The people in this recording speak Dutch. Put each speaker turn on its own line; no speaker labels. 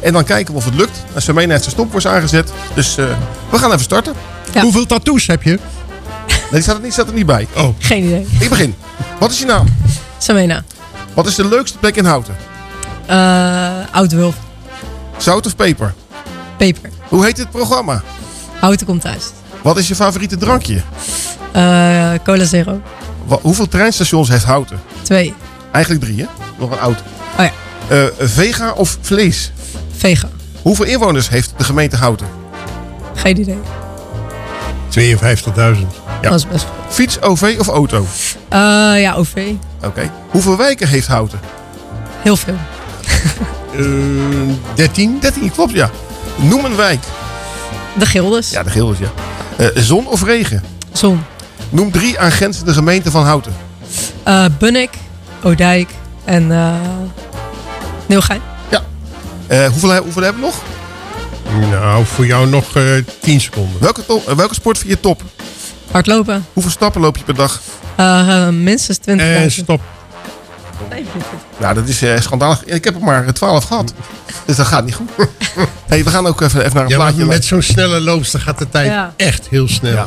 En dan kijken we of het lukt. Nou, Semena heeft zijn stop was aangezet. Dus eh, we gaan even starten.
Ja.
Hoeveel tattoos heb je?
Nee, die staat er niet, staat er niet bij.
Oh,
Geen idee.
Ik begin. Wat is je naam?
Samena.
Wat is de leukste plek in Houten?
eh Oud Wulf.
Zout of peper?
Peper.
Hoe heet dit programma?
Houten komt thuis.
Wat is je favoriete drankje?
Eh, Cola Zero.
Wa- hoeveel treinstations heeft Houten?
Twee.
Eigenlijk drie, hè? Nog een oud.
Oh ja.
Eh, vega of vlees?
Vega.
Hoeveel inwoners heeft de gemeente Houten?
Geen idee.
52.000.
Ja.
Dat is best goed.
Fiets, OV of auto?
Eh, ja, OV.
Oké. Hoeveel wijken heeft Houten?
Heel veel.
Eh, 13?
13, klopt, ja. Noem een wijk.
De Gildes.
Ja, de geel is ja. Eh, zon of regen?
Zon.
Noem drie aangrenzende gemeenten van Houten.
Eh Bunnik. Oudijk. En eh Nieuwegein.
Eh, hoeveel, hoeveel hebben we nog?
Nou, voor jou nog eh 10 seconden.
Welke, to- eh, welke sport vind je top?
Hardlopen.
Hoeveel stappen loop je per dag?
Eh, eh, minstens 20
En
mensen.
stop.
Nou, dat is eh, schandalig. Ik heb er maar 12 gehad. Dus dat gaat niet goed. hey, we gaan ook even, even naar een
Ja, maar
plaatje.
met zo'n snelle loopster gaat de tijd
Ja.
echt heel snel.
Ja.